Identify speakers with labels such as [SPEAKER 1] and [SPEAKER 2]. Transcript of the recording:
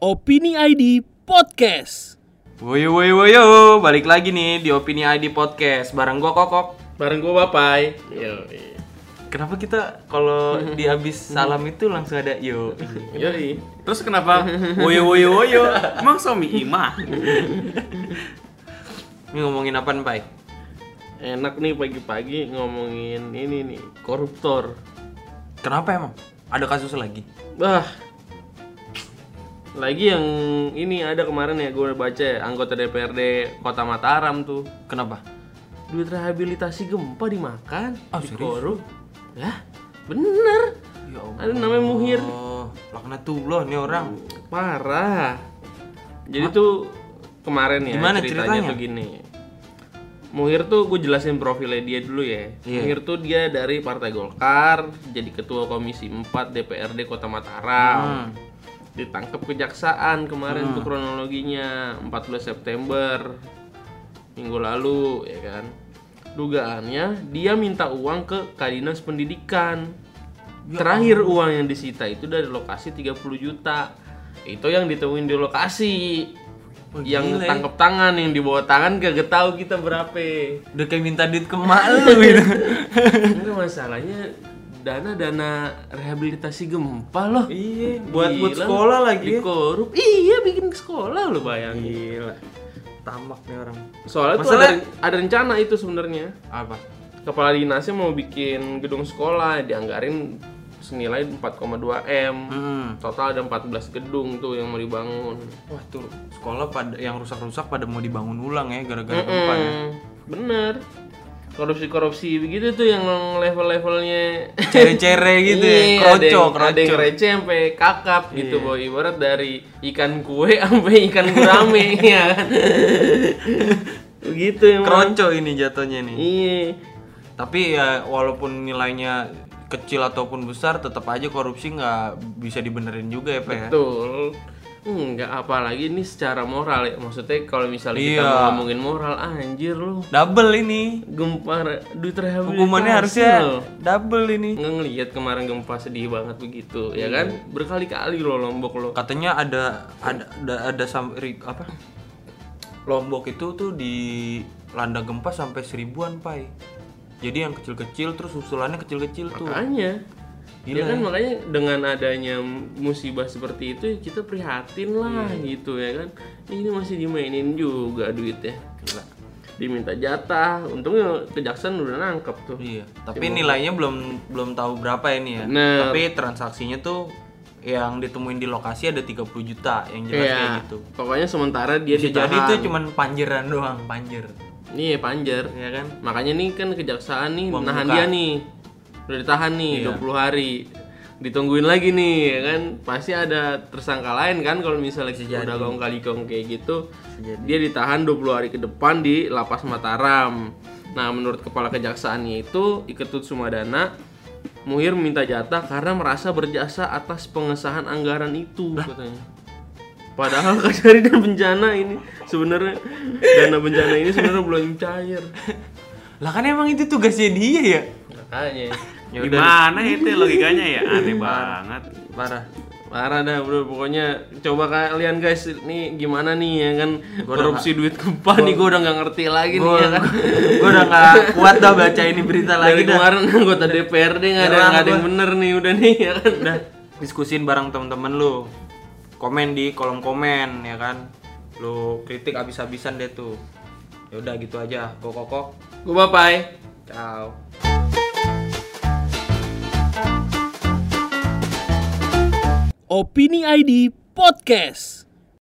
[SPEAKER 1] Opini ID Podcast
[SPEAKER 2] Woyo woyo woyo, balik lagi nih di Opini ID Podcast bareng gua Kokok.
[SPEAKER 3] Bareng gue Bapai. Yo.
[SPEAKER 2] Kenapa kita kalau di abis salam itu langsung ada yo?
[SPEAKER 3] Yoi.
[SPEAKER 4] Terus kenapa woyo woyo woyo? Emang suami imah.
[SPEAKER 2] Ini ngomongin apa Pai?
[SPEAKER 3] Enak nih pagi-pagi ngomongin ini nih, koruptor.
[SPEAKER 2] Kenapa emang? Ada kasus lagi?
[SPEAKER 3] Bah. Lagi yang ini ada kemarin ya gue baca ya, anggota DPRD Kota Mataram tuh
[SPEAKER 2] Kenapa?
[SPEAKER 3] duit rehabilitasi gempa dimakan,
[SPEAKER 2] Ah, serius?
[SPEAKER 3] dikorup. Lah, bener.
[SPEAKER 2] Ya Allah.
[SPEAKER 3] Ada namanya Muhir.
[SPEAKER 2] Oh, laknatullah nih orang.
[SPEAKER 3] Parah. Jadi tuh kemarin ya
[SPEAKER 2] Gimana
[SPEAKER 3] ceritanya,
[SPEAKER 2] ceritanya?
[SPEAKER 3] tuh gini. Muhir tuh gue jelasin profilnya dia dulu ya.
[SPEAKER 2] Iya.
[SPEAKER 3] Muhir tuh dia dari Partai Golkar, jadi ketua Komisi 4 DPRD Kota
[SPEAKER 2] Hmm.
[SPEAKER 3] Mataram. Ditangkap kejaksaan kemarin tuh
[SPEAKER 2] Hmm.
[SPEAKER 3] kronologinya 14 September minggu lalu ya kan. Dugaannya dia minta uang ke Kadinas Pendidikan.
[SPEAKER 2] Ya
[SPEAKER 3] Terakhir uang yang disita itu dari lokasi 30 juta. Itu yang ditemuin di lokasi.
[SPEAKER 2] Wah,
[SPEAKER 3] yang
[SPEAKER 2] gila ya.
[SPEAKER 3] tangkep tangan, yang dibawa tangan kagak tahu kita berapa.
[SPEAKER 2] Udah kayak minta duit ke emak lu gitu.
[SPEAKER 3] Enggak masalahnya dana-dana rehabilitasi gempa loh.
[SPEAKER 2] Iya, buat- buat
[SPEAKER 3] Gila,
[SPEAKER 2] sekolah lagi ya.
[SPEAKER 3] Dikorup. Iya, bikin sekolah lo bayangin.
[SPEAKER 2] Gila. Tamak nih orang.
[SPEAKER 3] Soalnya tuh ada,
[SPEAKER 2] Masalah-
[SPEAKER 3] ada rencana itu sebenarnya.
[SPEAKER 2] Apa?
[SPEAKER 3] Kepala dinasnya mau bikin gedung sekolah dianggarin senilai 4,2 M.
[SPEAKER 2] Hmm.
[SPEAKER 3] Total ada 14 gedung tuh yang mau dibangun.
[SPEAKER 2] Wah tuh sekolah pada yang rusak-rusak pada mau dibangun ulang ya gara-gara gempa ya.
[SPEAKER 3] Mm-mm, Hmm, Bener. Korupsi-korupsi begitu tuh yang level-levelnya
[SPEAKER 2] Cere-cere gitu ya, Iya.
[SPEAKER 3] Iya,
[SPEAKER 2] kroco,
[SPEAKER 3] ada yang-
[SPEAKER 2] kroco.
[SPEAKER 3] Ada yang receh sampai kakap gitu, boy. Ibarat dari ikan kue sampai ikan gurame ya kan. Begitu emang.
[SPEAKER 2] Keronco ini jatuhnya nih.
[SPEAKER 3] Iya.
[SPEAKER 2] Tapi ya walaupun nilainya kecil ataupun besar tetap aja korupsi nggak bisa dibenerin juga ya Pak ya.
[SPEAKER 3] Betul. Hmm, Enggak apalagi ini secara moral ya. Maksudnya kalau misalnya kita
[SPEAKER 2] Iya.
[SPEAKER 3] mau ngomongin moral ah, anjir lu
[SPEAKER 2] Double
[SPEAKER 3] Iya,
[SPEAKER 2] ini.
[SPEAKER 3] gempar duit rehabilitasi.
[SPEAKER 2] Hukumannya
[SPEAKER 3] lo.
[SPEAKER 2] harusnya double ini.
[SPEAKER 3] nggak ngelihat kemarin gempa sedih banget begitu
[SPEAKER 2] Iya.
[SPEAKER 3] ya kan berkali-kali lo lombok lo
[SPEAKER 2] Katanya ada ada ada, ada sam- ri- apa? Lombok itu tuh di landa gempa sampai seribuan pai. Jadi yang kecil-kecil terus usulannya kecil-kecil tuh.
[SPEAKER 3] makanya ya kan makanya dengan adanya musibah seperti itu ya kita prihatin lah
[SPEAKER 2] Iya.
[SPEAKER 3] gitu ya kan ini masih dimainin juga duitnya
[SPEAKER 2] Gila.
[SPEAKER 3] diminta jatah untungnya kejaksaan udah nangkep tuh
[SPEAKER 2] Iya, tapi nilainya belum belum tahu berapa ini ya.
[SPEAKER 3] Bener.
[SPEAKER 2] Tapi transaksinya tuh yang ditemuin di lokasi ada 30 juta yang jelas kayak
[SPEAKER 3] Iya,
[SPEAKER 2] gitu.
[SPEAKER 3] pokoknya sementara dia
[SPEAKER 2] Bisa jadi
[SPEAKER 3] ditahan.
[SPEAKER 2] itu cuman panjeran doang, panjer.
[SPEAKER 3] Nih panjer.
[SPEAKER 2] Ya kan?
[SPEAKER 3] Makanya nih kan kejaksaan nih
[SPEAKER 2] Uang
[SPEAKER 3] nahan
[SPEAKER 2] muka.
[SPEAKER 3] dia nih. Udah ditahan nih 20 hari. Ditungguin lagi nih ya kan. Pasti ada tersangka lain kan kalau misalnya udah gong kali gong kayak gitu. Dia ditahan 20 hari ke depan di Lapas Mataram. Nah, menurut kepala kejaksaannya itu Iketut Sumadana Muhir minta jatah karena merasa berjasa atas pengesahan anggaran itu katanya. Padahal Kasari dan bencana ini sebenarnya dana bencana ini sebenarnya belum cair.
[SPEAKER 2] Lah kan emang itu tugasnya dia ya.
[SPEAKER 3] Makanya
[SPEAKER 2] Ya udah
[SPEAKER 4] Gimana itu logikanya ya? Aneh banget.
[SPEAKER 2] parah.
[SPEAKER 3] parah dah bro pokoknya coba kalian guys nih gimana nih ya kan
[SPEAKER 2] Gua udah
[SPEAKER 3] korupsi duit gempa nih gue udah nggak ngerti lagi nih ya kan
[SPEAKER 2] Gue udah gak kuat dah baca ini berita
[SPEAKER 3] dari
[SPEAKER 2] lagi dah.
[SPEAKER 3] kemarin anggota DPRD nggak ada
[SPEAKER 2] Nyerang
[SPEAKER 3] nggak ada yang
[SPEAKER 2] gua.
[SPEAKER 3] bener nih udah nih ya kan
[SPEAKER 2] Udah diskusin bareng temen-temen lu. Komen di kolom komen ya kan. Lu kritik abis-abisan deh tuh. Ya udah gitu aja. Kok kok kok.
[SPEAKER 3] gue bapai
[SPEAKER 2] Ciao.
[SPEAKER 1] Opini ID Podcast